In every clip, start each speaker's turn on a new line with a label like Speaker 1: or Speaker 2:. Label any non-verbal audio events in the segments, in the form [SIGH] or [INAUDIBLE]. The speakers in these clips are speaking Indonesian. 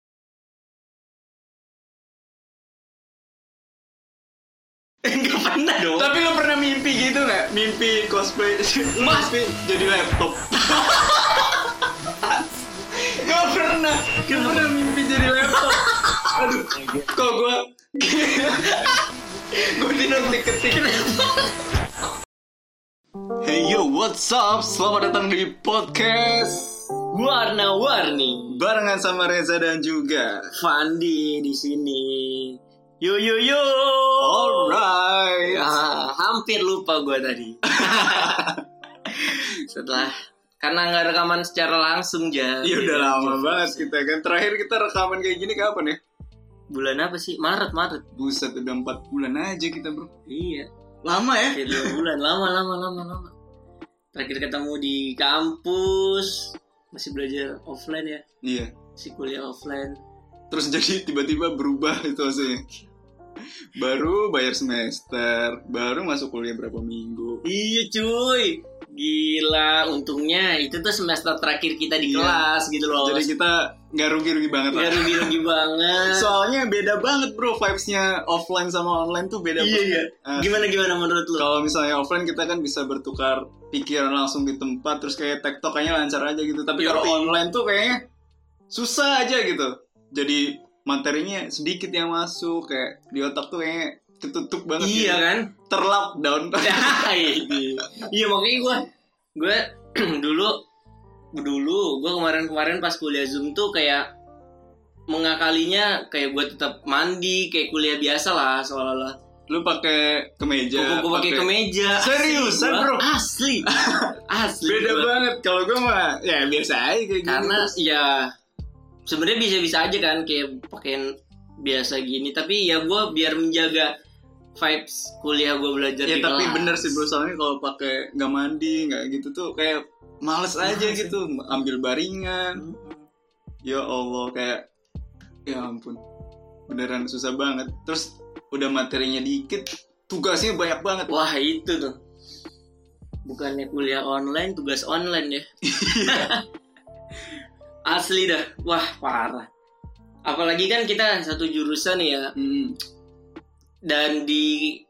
Speaker 1: [LAUGHS]
Speaker 2: pernah dong
Speaker 1: Tapi lo pernah mimpi gitu nggak? Mimpi cosplay [LAUGHS] Mas mimpi jadi [LAUGHS] laptop. gak pernah. Gak pernah mimpi jadi laptop. Aduh, kok gua [LAUGHS] Gue tidur ketik Hey yo, what's up? Selamat datang di podcast
Speaker 2: warna-warni
Speaker 1: barengan sama Reza dan juga.
Speaker 2: Fandi di sini yo yo yo
Speaker 1: Alright.
Speaker 2: Ah, hampir lupa gue tadi [LAUGHS] setelah karena nggak rekaman secara langsung Iya, jadi
Speaker 1: Ya udah lama banget kita kan. Terakhir kita rekaman kayak gini kapan ya?
Speaker 2: bulan apa sih Maret Maret
Speaker 1: Buset udah 4 bulan aja kita bro.
Speaker 2: iya
Speaker 1: Lama ya?
Speaker 2: hampir dua bulan lama lama lama lama terakhir ketemu di kampus masih belajar offline ya
Speaker 1: Iya.
Speaker 2: si kuliah offline
Speaker 1: Terus jadi tiba-tiba berubah itu maksudnya. Baru bayar semester, baru masuk kuliah berapa minggu.
Speaker 2: Iya cuy Gila untungnya itu tuh semester terakhir kita di
Speaker 1: Iya.
Speaker 2: kelas gitu loh
Speaker 1: Jadi kita nggak rugi-rugi banget
Speaker 2: Gak
Speaker 1: lah.
Speaker 2: rugi-rugi banget
Speaker 1: Soalnya beda banget bro vibes-nya offline sama online tuh beda
Speaker 2: Iya
Speaker 1: banget.
Speaker 2: iya
Speaker 1: Ah.
Speaker 2: Gimana-gimana menurut lo?
Speaker 1: Kalau misalnya offline kita kan bisa bertukar pikiran langsung di tempat terus kayak tektok kayaknya lancar aja gitu. Tapi kalau
Speaker 2: Yoi.
Speaker 1: online tuh kayaknya susah aja gitu. Jadi materinya sedikit yang masuk kayak di otak tuh kayaknya ketutup banget.
Speaker 2: Iya
Speaker 1: gitu.
Speaker 2: kan? [LAUGHS]
Speaker 1: Terlockdown.
Speaker 2: Nah, ini. Iya makanya gue Gue [CLEARS THROAT] dulu Dulu gue kemarin-kemarin pas kuliah Zoom tuh kayak Mengakalinya kayak gue tetap mandi Kayak kuliah biasa lah seolah-olah
Speaker 1: Lu Ya, pakai kemeja.
Speaker 2: Gue pakai kemeja
Speaker 1: Seriusan,
Speaker 2: Asli
Speaker 1: bro?
Speaker 2: gua.
Speaker 1: [LAUGHS]
Speaker 2: Asli Asli
Speaker 1: Beda
Speaker 2: gua.
Speaker 1: banget kalau gue mah ya biasa aja kayak gini.
Speaker 2: karena ya sebenarnya bisa-bisa aja kan kayak pakaian biasa gini tapi ya gue biar menjaga vibes kuliah gue belajar
Speaker 1: ya
Speaker 2: di
Speaker 1: tapi
Speaker 2: kelas.
Speaker 1: bener sih bro soalnya kalau pakai nggak mandi nggak gitu tuh kayak males aja
Speaker 2: Males,
Speaker 1: gitu ambil baringan
Speaker 2: Hmm.
Speaker 1: Ya Allah kayak ya ampun beneran susah banget. Terus udah materinya dikit, tugasnya banyak banget.
Speaker 2: wah itu tuh bukannya kuliah online tugas online ya [LAUGHS] asli dah wah parah apalagi kan kita satu jurusan ya
Speaker 1: Hmm.
Speaker 2: dan di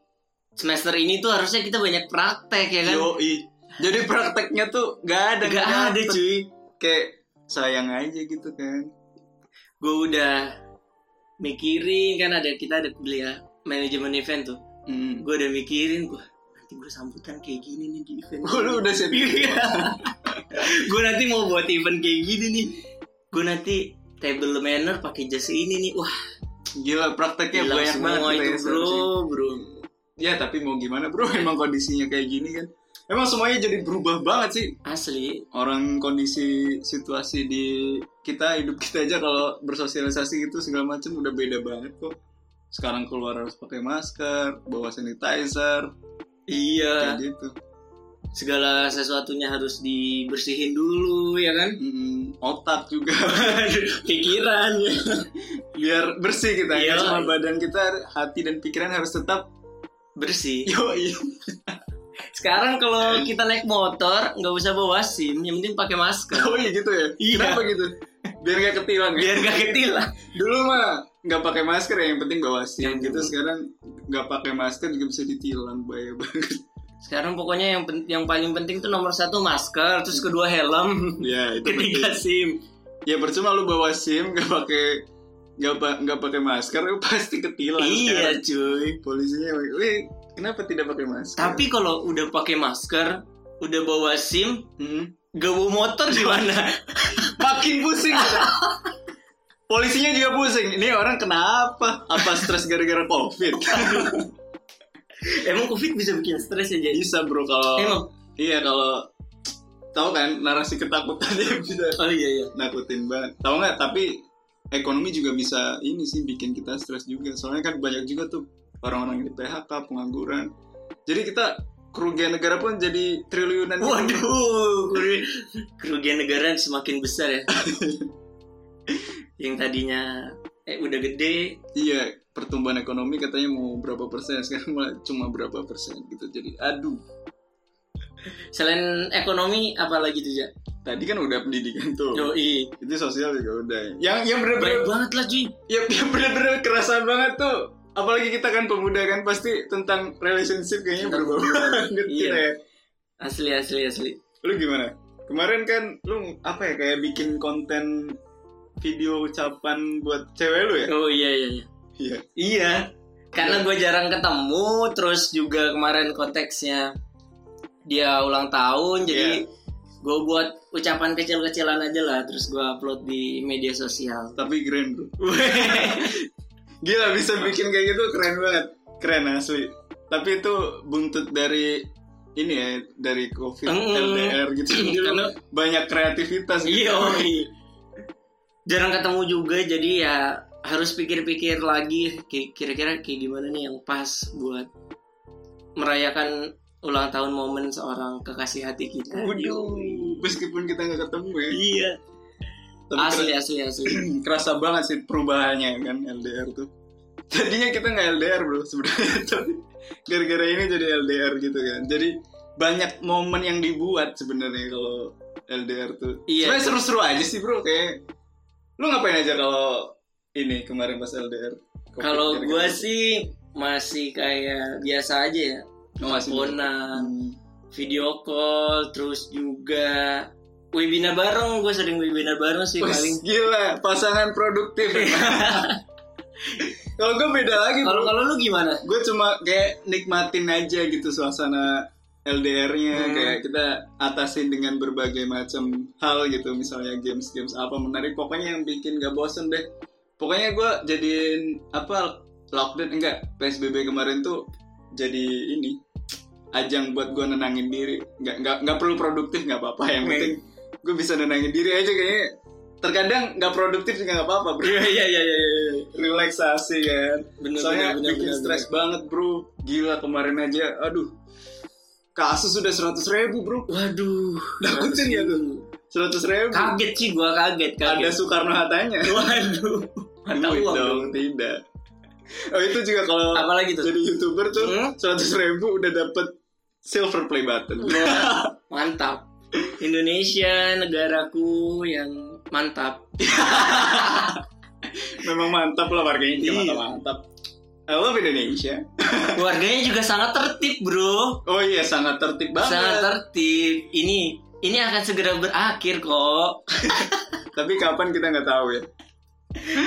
Speaker 2: semester ini tuh harusnya kita banyak praktek ya kan
Speaker 1: Yoi. Jadi prakteknya tuh gak ada,
Speaker 2: Gak ada
Speaker 1: dapet.
Speaker 2: cuy
Speaker 1: Kayak sayang aja gitu kan.
Speaker 2: gue udah mikirin kan ada kita ada kuliah manajemen event tuh
Speaker 1: Hmm. [LAUGHS]
Speaker 2: gue udah mikirin gue nanti gue sambutan kayak gini nih di event
Speaker 1: Oh, lu udah siap.
Speaker 2: gue nanti mau buat event kayak gini nih gue nanti table manner pakai jas ini nih wah
Speaker 1: Gila prakteknya
Speaker 2: gila
Speaker 1: Iya, banyak
Speaker 2: semua
Speaker 1: banget kita
Speaker 2: itu
Speaker 1: ya,
Speaker 2: bro
Speaker 1: seharusnya.
Speaker 2: bro
Speaker 1: Ya tapi mau gimana bro? [LAUGHS] Emang kondisinya kayak gini kan. Emang semuanya jadi berubah banget sih.
Speaker 2: asli
Speaker 1: orang kondisi situasi di kita hidup kita aja kalau bersosialisasi gitu segala macam udah beda banget kok sekarang keluar harus pakai masker bawa sanitizer kayak
Speaker 2: iya
Speaker 1: gitu
Speaker 2: segala sesuatunya harus dibersihin dulu ya kan [LAUGHS]
Speaker 1: Mm, otak juga [LAUGHS]
Speaker 2: pikiran
Speaker 1: biar bersih kita nggak
Speaker 2: Iya.
Speaker 1: cuma badan kita hati dan pikiran harus tetap [LAUGHS]
Speaker 2: bersih
Speaker 1: yoi
Speaker 2: Sekarang
Speaker 1: Iya.
Speaker 2: kalau kita naik motor nggak usah bawa SIM, yang penting pakai masker.
Speaker 1: [LAUGHS] oh iya gitu ya
Speaker 2: Iya.
Speaker 1: kenapa gitu biar gak ketilang ya?
Speaker 2: Biar gak ketilang.
Speaker 1: dulu mah nggak pakai masker ya yang penting bawa sim
Speaker 2: Yang
Speaker 1: gitu
Speaker 2: penting.
Speaker 1: sekarang nggak pakai masker juga bisa ditilang bahaya banget
Speaker 2: Sekarang pokoknya yang pen- yang paling penting tuh nomor satu masker, terus kedua
Speaker 1: [LAUGHS]
Speaker 2: helm,
Speaker 1: ya itu penting.
Speaker 2: ketiga SIM.
Speaker 1: ya percuma lu bawa sim nggak pakai nggak pa- nggak pakai masker lu pasti ketilang sekarang.
Speaker 2: Iya cuy.
Speaker 1: polisinya wih kenapa tidak pakai masker
Speaker 2: Tapi kalau udah pakai masker, udah bawa SIM,
Speaker 1: Hmm.
Speaker 2: gak bawa motor [LAUGHS] gimana?
Speaker 1: makin pusing kita. polisinya juga pusing ini orang kenapa apa stres gara-gara covid
Speaker 2: Emang covid bisa bikin stres ya jadi?
Speaker 1: bisa bro kalau
Speaker 2: Emang?
Speaker 1: iya kalau tahu kan narasi ketakutan dia bisa
Speaker 2: Oh iya iya.
Speaker 1: nakutin banget tahu nggak tapi ekonomi juga bisa ini sih bikin kita stres juga soalnya kan banyak juga tuh orang-orang yang di PHK pengangguran jadi kita kerugian negara pun jadi triliunan gitu.
Speaker 2: Waduh, keru- kerugian negara semakin besar ya. yang tadinya eh udah gede,
Speaker 1: iya pertumbuhan ekonomi katanya mau berapa persen [LAUGHS] sekarang malah cuma berapa persen gitu jadi aduh
Speaker 2: Selain ekonomi, apalagi tuh ja?
Speaker 1: tadi kan udah pendidikan tuh
Speaker 2: Yoi,
Speaker 1: itu sosial juga udah yang yang bener-bener
Speaker 2: baik banget lah cuy.
Speaker 1: yang, yang bener-bener kerasa banget tuh apalagi kita kan pemuda kan pasti tentang relationship kayaknya
Speaker 2: Tentang
Speaker 1: berubah [LAUGHS] banget
Speaker 2: Iya.
Speaker 1: kita ya.
Speaker 2: asli asli asli
Speaker 1: Lu gimana? Kemarin kan lu apa ya kayak bikin konten video ucapan buat cewek lu ya?
Speaker 2: oh iya iya iya
Speaker 1: Iya.
Speaker 2: Iya, karena gue jarang ketemu, terus juga kemarin konteksnya dia ulang
Speaker 1: Iya.
Speaker 2: tahun, jadi gue buat ucapan kecil-kecilan aja lah, terus gue upload di media sosial.
Speaker 1: Tapi keren
Speaker 2: [LAUGHS]
Speaker 1: bro. Gila bisa bikin kayak gitu keren banget. Keren asli. Tapi itu buntut dari ini ya dari covid
Speaker 2: Mm.
Speaker 1: LDR gitu. Jadi lu
Speaker 2: [CLEARS THROAT] Karena-
Speaker 1: banyak kreativitas gitu.
Speaker 2: Iya, oi. jarang ketemu juga, jadi ya harus pikir-pikir lagi ki- kira-kira kayak gimana nih yang pas buat merayakan ulang tahun momen seorang kekasih hati kita.
Speaker 1: Waduh, meskipun kita nggak ketemu ya.
Speaker 2: Iya.
Speaker 1: Tapi
Speaker 2: Asli asli asli.
Speaker 1: keren- kerasa banget sih perubahannya kan LDR tuh. Tadinya kita nggak LDR bro sebenarnya, [LAUGHS] tapi gara-gara ini jadi LDR gitu kan. Jadi banyak momen yang dibuat sebenarnya kalau LDR tuh.
Speaker 2: Iya.
Speaker 1: Sebenarnya seru-seru aja sih bro kayak. Lu ngapain aja kalau ini kemarin pas LDR? Covid
Speaker 2: Kalau
Speaker 1: gara-gara
Speaker 2: gue
Speaker 1: itu.
Speaker 2: sih masih kayak biasa aja ya.
Speaker 1: Oh, masih
Speaker 2: Teleponan,
Speaker 1: Hmm.
Speaker 2: video call, terus juga webinar bareng. Gue sering webinar bareng sih
Speaker 1: Wih,
Speaker 2: paling.
Speaker 1: gila, pasangan
Speaker 2: [LAUGHS]
Speaker 1: produktif. kalau gue beda lagi. bro.
Speaker 2: Kalau kalau lu gimana?
Speaker 1: gue cuma kayak nikmatin aja gitu suasana LDR-nya
Speaker 2: Hmm.
Speaker 1: kayak kita atasin dengan berbagai macam hal gitu misalnya games-games apa menarik pokoknya yang bikin gak bosen deh pokoknya gue jadiin apa lockdown enggak PSBB kemarin tuh jadi ini ajang buat gue nenangin diri nggak nggak nggak perlu produktif nggak apa-apa yang
Speaker 2: Hmm.
Speaker 1: penting gue bisa nenangin diri aja kayaknya terkadang nggak produktif juga nggak apa-apa bro
Speaker 2: iya iya iya.
Speaker 1: relaksasi kan
Speaker 2: Bener,
Speaker 1: Soalnya
Speaker 2: bener, bener,
Speaker 1: bikin
Speaker 2: bener,
Speaker 1: stres banget bro Gila kemarin aja Aduh Kasus sudah 100 ribu bro
Speaker 2: Waduh.
Speaker 1: Dapetin ya tuh 100 ribu
Speaker 2: Kaget sih gue kaget
Speaker 1: Ada
Speaker 2: kaget.
Speaker 1: Soekarno Hattanya [LAUGHS]
Speaker 2: Waduh. Mata
Speaker 1: Duit
Speaker 2: uang
Speaker 1: dong
Speaker 2: dong.
Speaker 1: Tidak Oh itu juga kalau
Speaker 2: Apalagi tuh?
Speaker 1: Jadi youtuber tuh
Speaker 2: Hmm?
Speaker 1: 100 ribu udah dapet Silver play button
Speaker 2: Hmm. Wah, mantap. Indonesia negaraku yang mantap.
Speaker 1: Memang mantap lah warganya juga
Speaker 2: Iya.
Speaker 1: mantap-mantap I love Indonesia
Speaker 2: Keluarganya juga sangat tertib bro.
Speaker 1: Oh iya sangat tertib banget
Speaker 2: Sangat tertib. Ini ini akan segera berakhir kok.
Speaker 1: Tapi kapan kita nggak tahu ya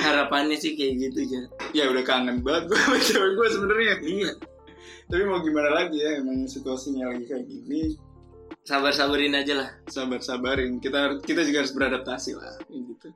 Speaker 2: Harapannya sih kayak gitu ya.
Speaker 1: Ya udah kangen banget gue sama cewek gue sebenarnya
Speaker 2: Iya.
Speaker 1: tapi mau gimana lagi ya emang situasinya lagi kayak gini
Speaker 2: Sabar-sabarin aja lah.
Speaker 1: sabar sabarin kita har- kita juga harus beradaptasi lah kayak gitu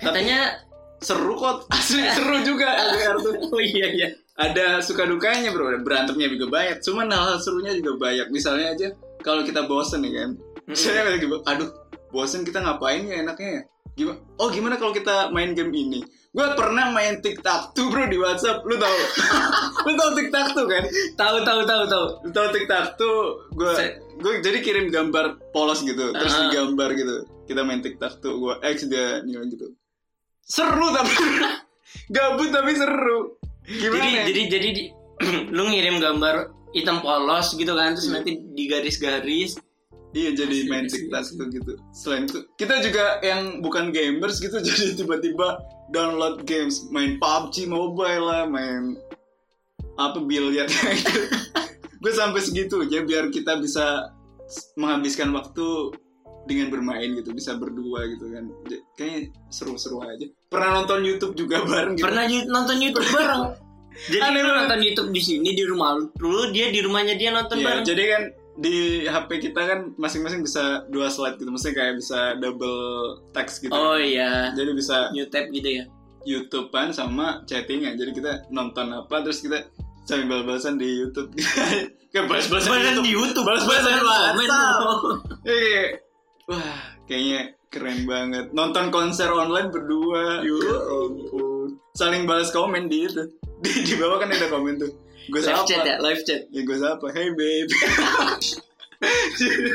Speaker 2: Katanya
Speaker 1: seru kok [LAUGHS] asli seru juga LDR tuh
Speaker 2: [LAUGHS] oh iya iya.
Speaker 1: ada suka dukanya bro ada berantemnya juga banyak cuman hal, -hal serunya juga banyak misalnya aja kalau kita bosen ya kan misalnya lagi bo- aduh bosen kita ngapain ya enaknya ya gimana oh gimana kalau kita main game ini gue pernah main tiktok tuh bro di WhatsApp lu tau [LAUGHS] lu tau tiktok tuh kan
Speaker 2: Tahu tahu tahu tahu.
Speaker 1: Lu tahu TikTok tuh gue
Speaker 2: Se-
Speaker 1: gue jadi kirim gambar polos gitu, terus
Speaker 2: Ah.
Speaker 1: digambar gitu. Kita main TikTok tuh gue X dia nilai gitu. Seru tapi [LAUGHS] gabut tapi seru. Gimana?
Speaker 2: Jadi
Speaker 1: ya?
Speaker 2: jadi jadi di- [CLEARS THROAT] lu ngirim gambar hitam polos gitu kan
Speaker 1: Hmm.
Speaker 2: terus nanti digaris-garis.
Speaker 1: iya jadi
Speaker 2: Asli,
Speaker 1: main
Speaker 2: asli,
Speaker 1: TikTok
Speaker 2: asli.
Speaker 1: tuh gitu. Selain itu kita juga yang bukan gamers gitu [LAUGHS] jadi tiba-tiba download games, main PUBG Mobile lah, main apa biliar [LAUGHS] gue sampai segitu ya biar kita bisa menghabiskan waktu dengan bermain gitu bisa berdua gitu kan J- kayaknya seru-seru aja pernah nonton YouTube juga [LAUGHS] bareng gitu
Speaker 2: Pernah yu- nonton YouTube bareng.
Speaker 1: [LAUGHS]
Speaker 2: Jadi
Speaker 1: Aneh
Speaker 2: lu
Speaker 1: banget.
Speaker 2: nonton YouTube di sini di rumah lu, Dulu dia di rumahnya dia nonton
Speaker 1: Iya,
Speaker 2: bareng.
Speaker 1: jadi kan di HP kita kan masing-masing bisa dua slide gitu maksudnya kayak bisa double text gitu
Speaker 2: Oh iya,
Speaker 1: jadi bisa
Speaker 2: new tab gitu ya.
Speaker 1: YouTubean sama chattingan jadi kita nonton apa terus kita sambil balasan di YouTube [LAUGHS] kayak balas-balasan
Speaker 2: Balas
Speaker 1: YouTube.
Speaker 2: di YouTube,
Speaker 1: Balas-balasan
Speaker 2: komen.
Speaker 1: WhatsApp. Iya, kayak, Wah, kayaknya keren banget. Nonton konser online berdua.
Speaker 2: Yo.
Speaker 1: Ya ampun. Saling balas komen di itu. [LAUGHS] Di, di bawah kan ada komen tuh. Gue
Speaker 2: Live
Speaker 1: sapa.
Speaker 2: chat ya,
Speaker 1: Ya,
Speaker 2: live chat.
Speaker 1: gue sapa. Hey babe. [LAUGHS]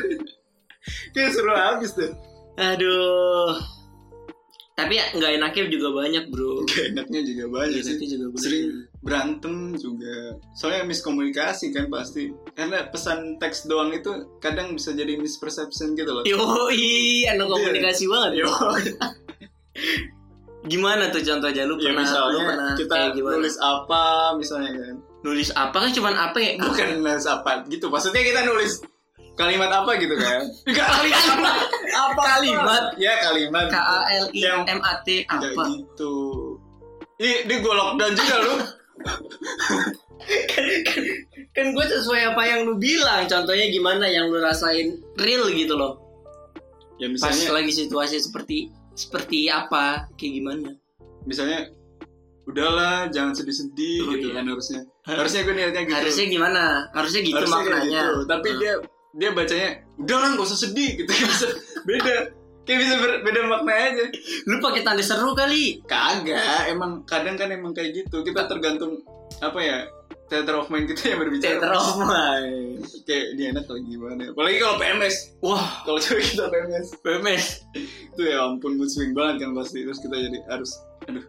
Speaker 1: kayak seru habis tuh.
Speaker 2: Aduh. Tapi ya, nggak enaknya juga banyak bro.
Speaker 1: Gak enaknya juga banyak sih.
Speaker 2: Enaknya juga banyak. ya.
Speaker 1: Sering berantem juga. Soalnya miskomunikasi kan pasti. Karena pesan teks doang itu kadang bisa jadi
Speaker 2: Iya,
Speaker 1: misperception gitu loh.
Speaker 2: Yoi, anak komunikasi banget.
Speaker 1: Yo.
Speaker 2: gimana tuh contohnya lu
Speaker 1: ya
Speaker 2: pernah lu
Speaker 1: misalnya
Speaker 2: pernah
Speaker 1: kita
Speaker 2: kayak gimana?
Speaker 1: nulis apa misalnya kan
Speaker 2: nulis apa kan cuman apa ya [LAUGHS]
Speaker 1: bukan nulis apa gitu maksudnya kita nulis kalimat apa gitu
Speaker 2: [LAUGHS]
Speaker 1: kan Enggak, [LAUGHS] kalimat apa apa
Speaker 2: Kalimat.
Speaker 1: ya kalimat
Speaker 2: K A L I
Speaker 1: Yang-
Speaker 2: M A T
Speaker 1: Enggak
Speaker 2: apa
Speaker 1: gitu Ih, di gue lockdown juga
Speaker 2: [LAUGHS]
Speaker 1: lu
Speaker 2: kan, kan, kan gue sesuai apa yang lu bilang contohnya gimana yang lu rasain real gitu loh
Speaker 1: ya
Speaker 2: pas
Speaker 1: misalnya
Speaker 2: lagi situasi seperti seperti apa kayak gimana
Speaker 1: misalnya udahlah jangan sedih-sedih
Speaker 2: Oh,
Speaker 1: gitu
Speaker 2: iya.
Speaker 1: kan harusnya harusnya gue niatnya gitu
Speaker 2: harusnya gimana harusnya gitu
Speaker 1: Harusnya kayak
Speaker 2: maknanya
Speaker 1: gitu. tapi
Speaker 2: Nah.
Speaker 1: dia dia bacanya udahlah gak usah sedih gitu [LAUGHS] Kayak bisa beda kayak bisa ber- beda makna aja
Speaker 2: lu pakai tanda seru kali
Speaker 1: kagak emang kadang kan emang kayak gitu kita tergantung apa ya theater of mind kita yang berbicara
Speaker 2: Theater of mind.
Speaker 1: kayak dia enak lagi gimana apalagi kalau PMS
Speaker 2: wah
Speaker 1: kalau cewek kita PMS
Speaker 2: PMS
Speaker 1: itu ya ampun mood swing banget kan pasti terus kita jadi harus aduh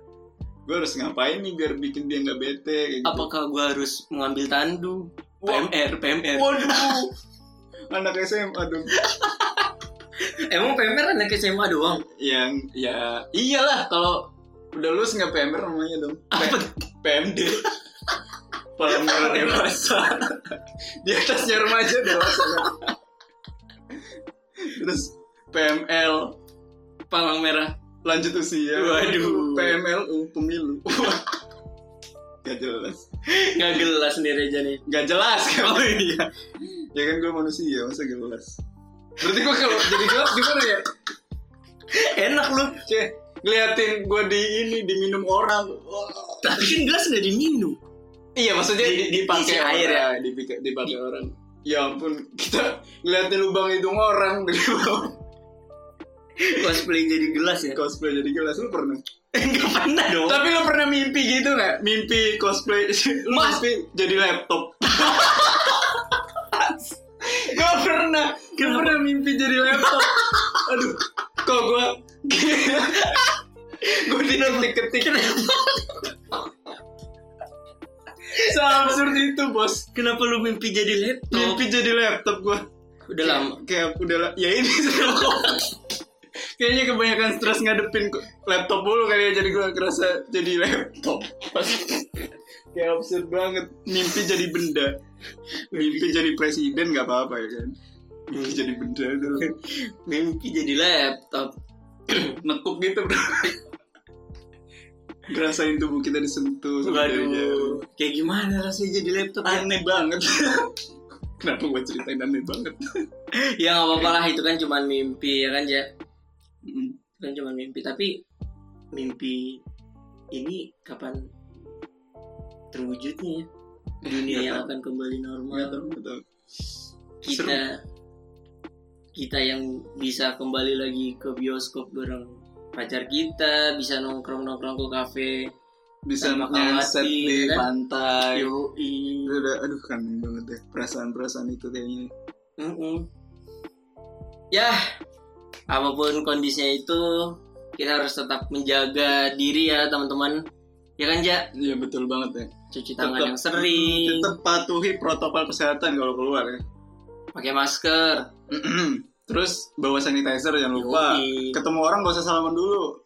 Speaker 1: gue harus ngapain nih biar bikin dia nggak bete kayak gitu
Speaker 2: apakah gue harus mengambil tandu
Speaker 1: Wah.
Speaker 2: PMR PMR
Speaker 1: waduh anak SMA aduh
Speaker 2: emang PMR anak SMA doang
Speaker 1: yang ya iyalah kalau udah lulus nggak PMR namanya dong
Speaker 2: apa
Speaker 1: PMD
Speaker 2: [LAUGHS]
Speaker 1: Palembaran dewasa di atasnya remaja dewasa terus PML
Speaker 2: palang merah
Speaker 1: lanjut usia
Speaker 2: Waduh.
Speaker 1: PMLU pemilu [LAUGHS] gak jelas
Speaker 2: nggak gelas sendiri aja nih
Speaker 1: gak jelas [LAUGHS] kan oh, iya. ya kan gue manusia masa gak jelas berarti gue kalau jadi jelas gimana ya
Speaker 2: enak lu
Speaker 1: Ceh, ngeliatin gue di ini diminum orang Wah.
Speaker 2: tapi kan gelas nggak diminum
Speaker 1: Iya maksudnya
Speaker 2: Di-
Speaker 1: di- dipakai
Speaker 2: diisi
Speaker 1: orang,
Speaker 2: air
Speaker 1: air
Speaker 2: ya?
Speaker 1: ya, dipakai, dipakai orang. Ya ampun, kita ngeliatin lubang hidung orang dari bawah.
Speaker 2: cosplay jadi gelas ya
Speaker 1: Cosplay jadi gelas lu pernah?
Speaker 2: nggak pernah dong
Speaker 1: Tapi lu pernah mimpi gitu nggak? Mimpi cosplay, [LAUGHS] lu
Speaker 2: Mas.
Speaker 1: mimpi jadi
Speaker 2: [LAUGHS]
Speaker 1: laptop. gak pernah, gak
Speaker 2: Kenapa?
Speaker 1: pernah mimpi jadi laptop. Aduh, kok
Speaker 2: [LAUGHS]
Speaker 1: gua gue diketik-ketik
Speaker 2: kenapa,
Speaker 1: seabsurd itu bos.
Speaker 2: kenapa lu mimpi jadi laptop
Speaker 1: Mimpi jadi laptop gua.
Speaker 2: udah lama
Speaker 1: kayak udah la- ya ini [LAUGHS] kayaknya kebanyakan stres ngadepin ko- laptop dulu kali ya jadi gue ngerasa jadi laptop [LAUGHS] kayak absurd banget mimpi jadi benda mimpi jadi presiden nggak apa-apa ya kan mimpi jadi benda itu
Speaker 2: mimpi jadi laptop
Speaker 1: nekuk gitu bro [LAUGHS] ngerasain tubuh kita disentuh sama jari-jari.
Speaker 2: waduh kayak gimana rasanya jadi laptop ya?
Speaker 1: aneh banget [LAUGHS] kenapa gue ceritain aneh banget
Speaker 2: ya nggak apa-apa lah itu kan cuman mimpi ya kan ya
Speaker 1: Mm.
Speaker 2: kan cuman mimpi tapi mimpi ini kapan terwujudnya ya? dunia
Speaker 1: Nggak
Speaker 2: yang
Speaker 1: tahu.
Speaker 2: akan kembali
Speaker 1: Nggak
Speaker 2: normal
Speaker 1: tahu, nggak tahu.
Speaker 2: kita kita yang bisa kembali lagi ke bioskop bareng pacar kita bisa nongkrong nongkrong ke kafe
Speaker 1: bisa
Speaker 2: Tanpa
Speaker 1: nyaset
Speaker 2: khawatir,
Speaker 1: di
Speaker 2: kan?
Speaker 1: pantai
Speaker 2: yoi
Speaker 1: Itu udah aduh kangen banget deh perasaan-perasaan itu kayaknya
Speaker 2: Mm-mm. ya apapun kondisinya itu kita harus tetap menjaga diri ya teman-teman ya kan ja
Speaker 1: iya betul banget ya
Speaker 2: cuci tangan
Speaker 1: Tetap-
Speaker 2: yang sering
Speaker 1: tetap patuhi protokol kesehatan kalau keluar ya [CLEARS THROAT]
Speaker 2: pakai masker
Speaker 1: terus bawa sanitizer jangan lupa
Speaker 2: Yoi.
Speaker 1: ketemu orang gak usah salaman dulu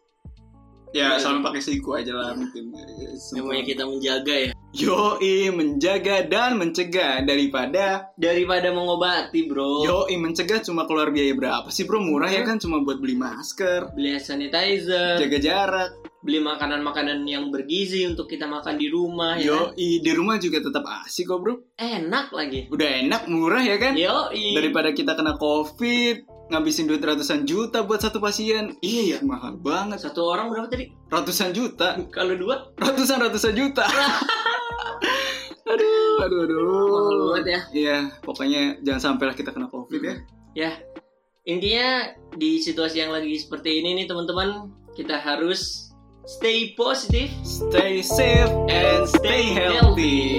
Speaker 1: ya
Speaker 2: Yoi.
Speaker 1: salam pakai siku aja lah mungkin
Speaker 2: namanya iya. kita menjaga ya
Speaker 1: yoi menjaga dan mencegah daripada
Speaker 2: daripada mengobati bro
Speaker 1: yoi mencegah cuma keluar biaya berapa sih bro murah
Speaker 2: Hmm.
Speaker 1: ya kan cuma buat beli masker
Speaker 2: beli hand sanitizer
Speaker 1: jaga jarak
Speaker 2: beli makanan-makanan yang bergizi untuk kita makan di rumah ya kan?
Speaker 1: yoi di rumah juga tetap asik kok bro
Speaker 2: enak lagi
Speaker 1: udah enak murah ya kan
Speaker 2: yo
Speaker 1: daripada kita kena covid ngabisin duit ratusan juta buat satu pasien iya mahal banget
Speaker 2: satu orang berapa tadi
Speaker 1: ratusan juta
Speaker 2: kalau dua
Speaker 1: ratusan ratusan juta
Speaker 2: [LAUGHS]
Speaker 1: aduh aduh aduh
Speaker 2: mahal banget ya
Speaker 1: iya pokoknya jangan sampailah kita kena covid ya
Speaker 2: ya intinya di situasi yang lagi seperti ini nih teman-teman kita harus stay positif
Speaker 1: stay safe and stay healthy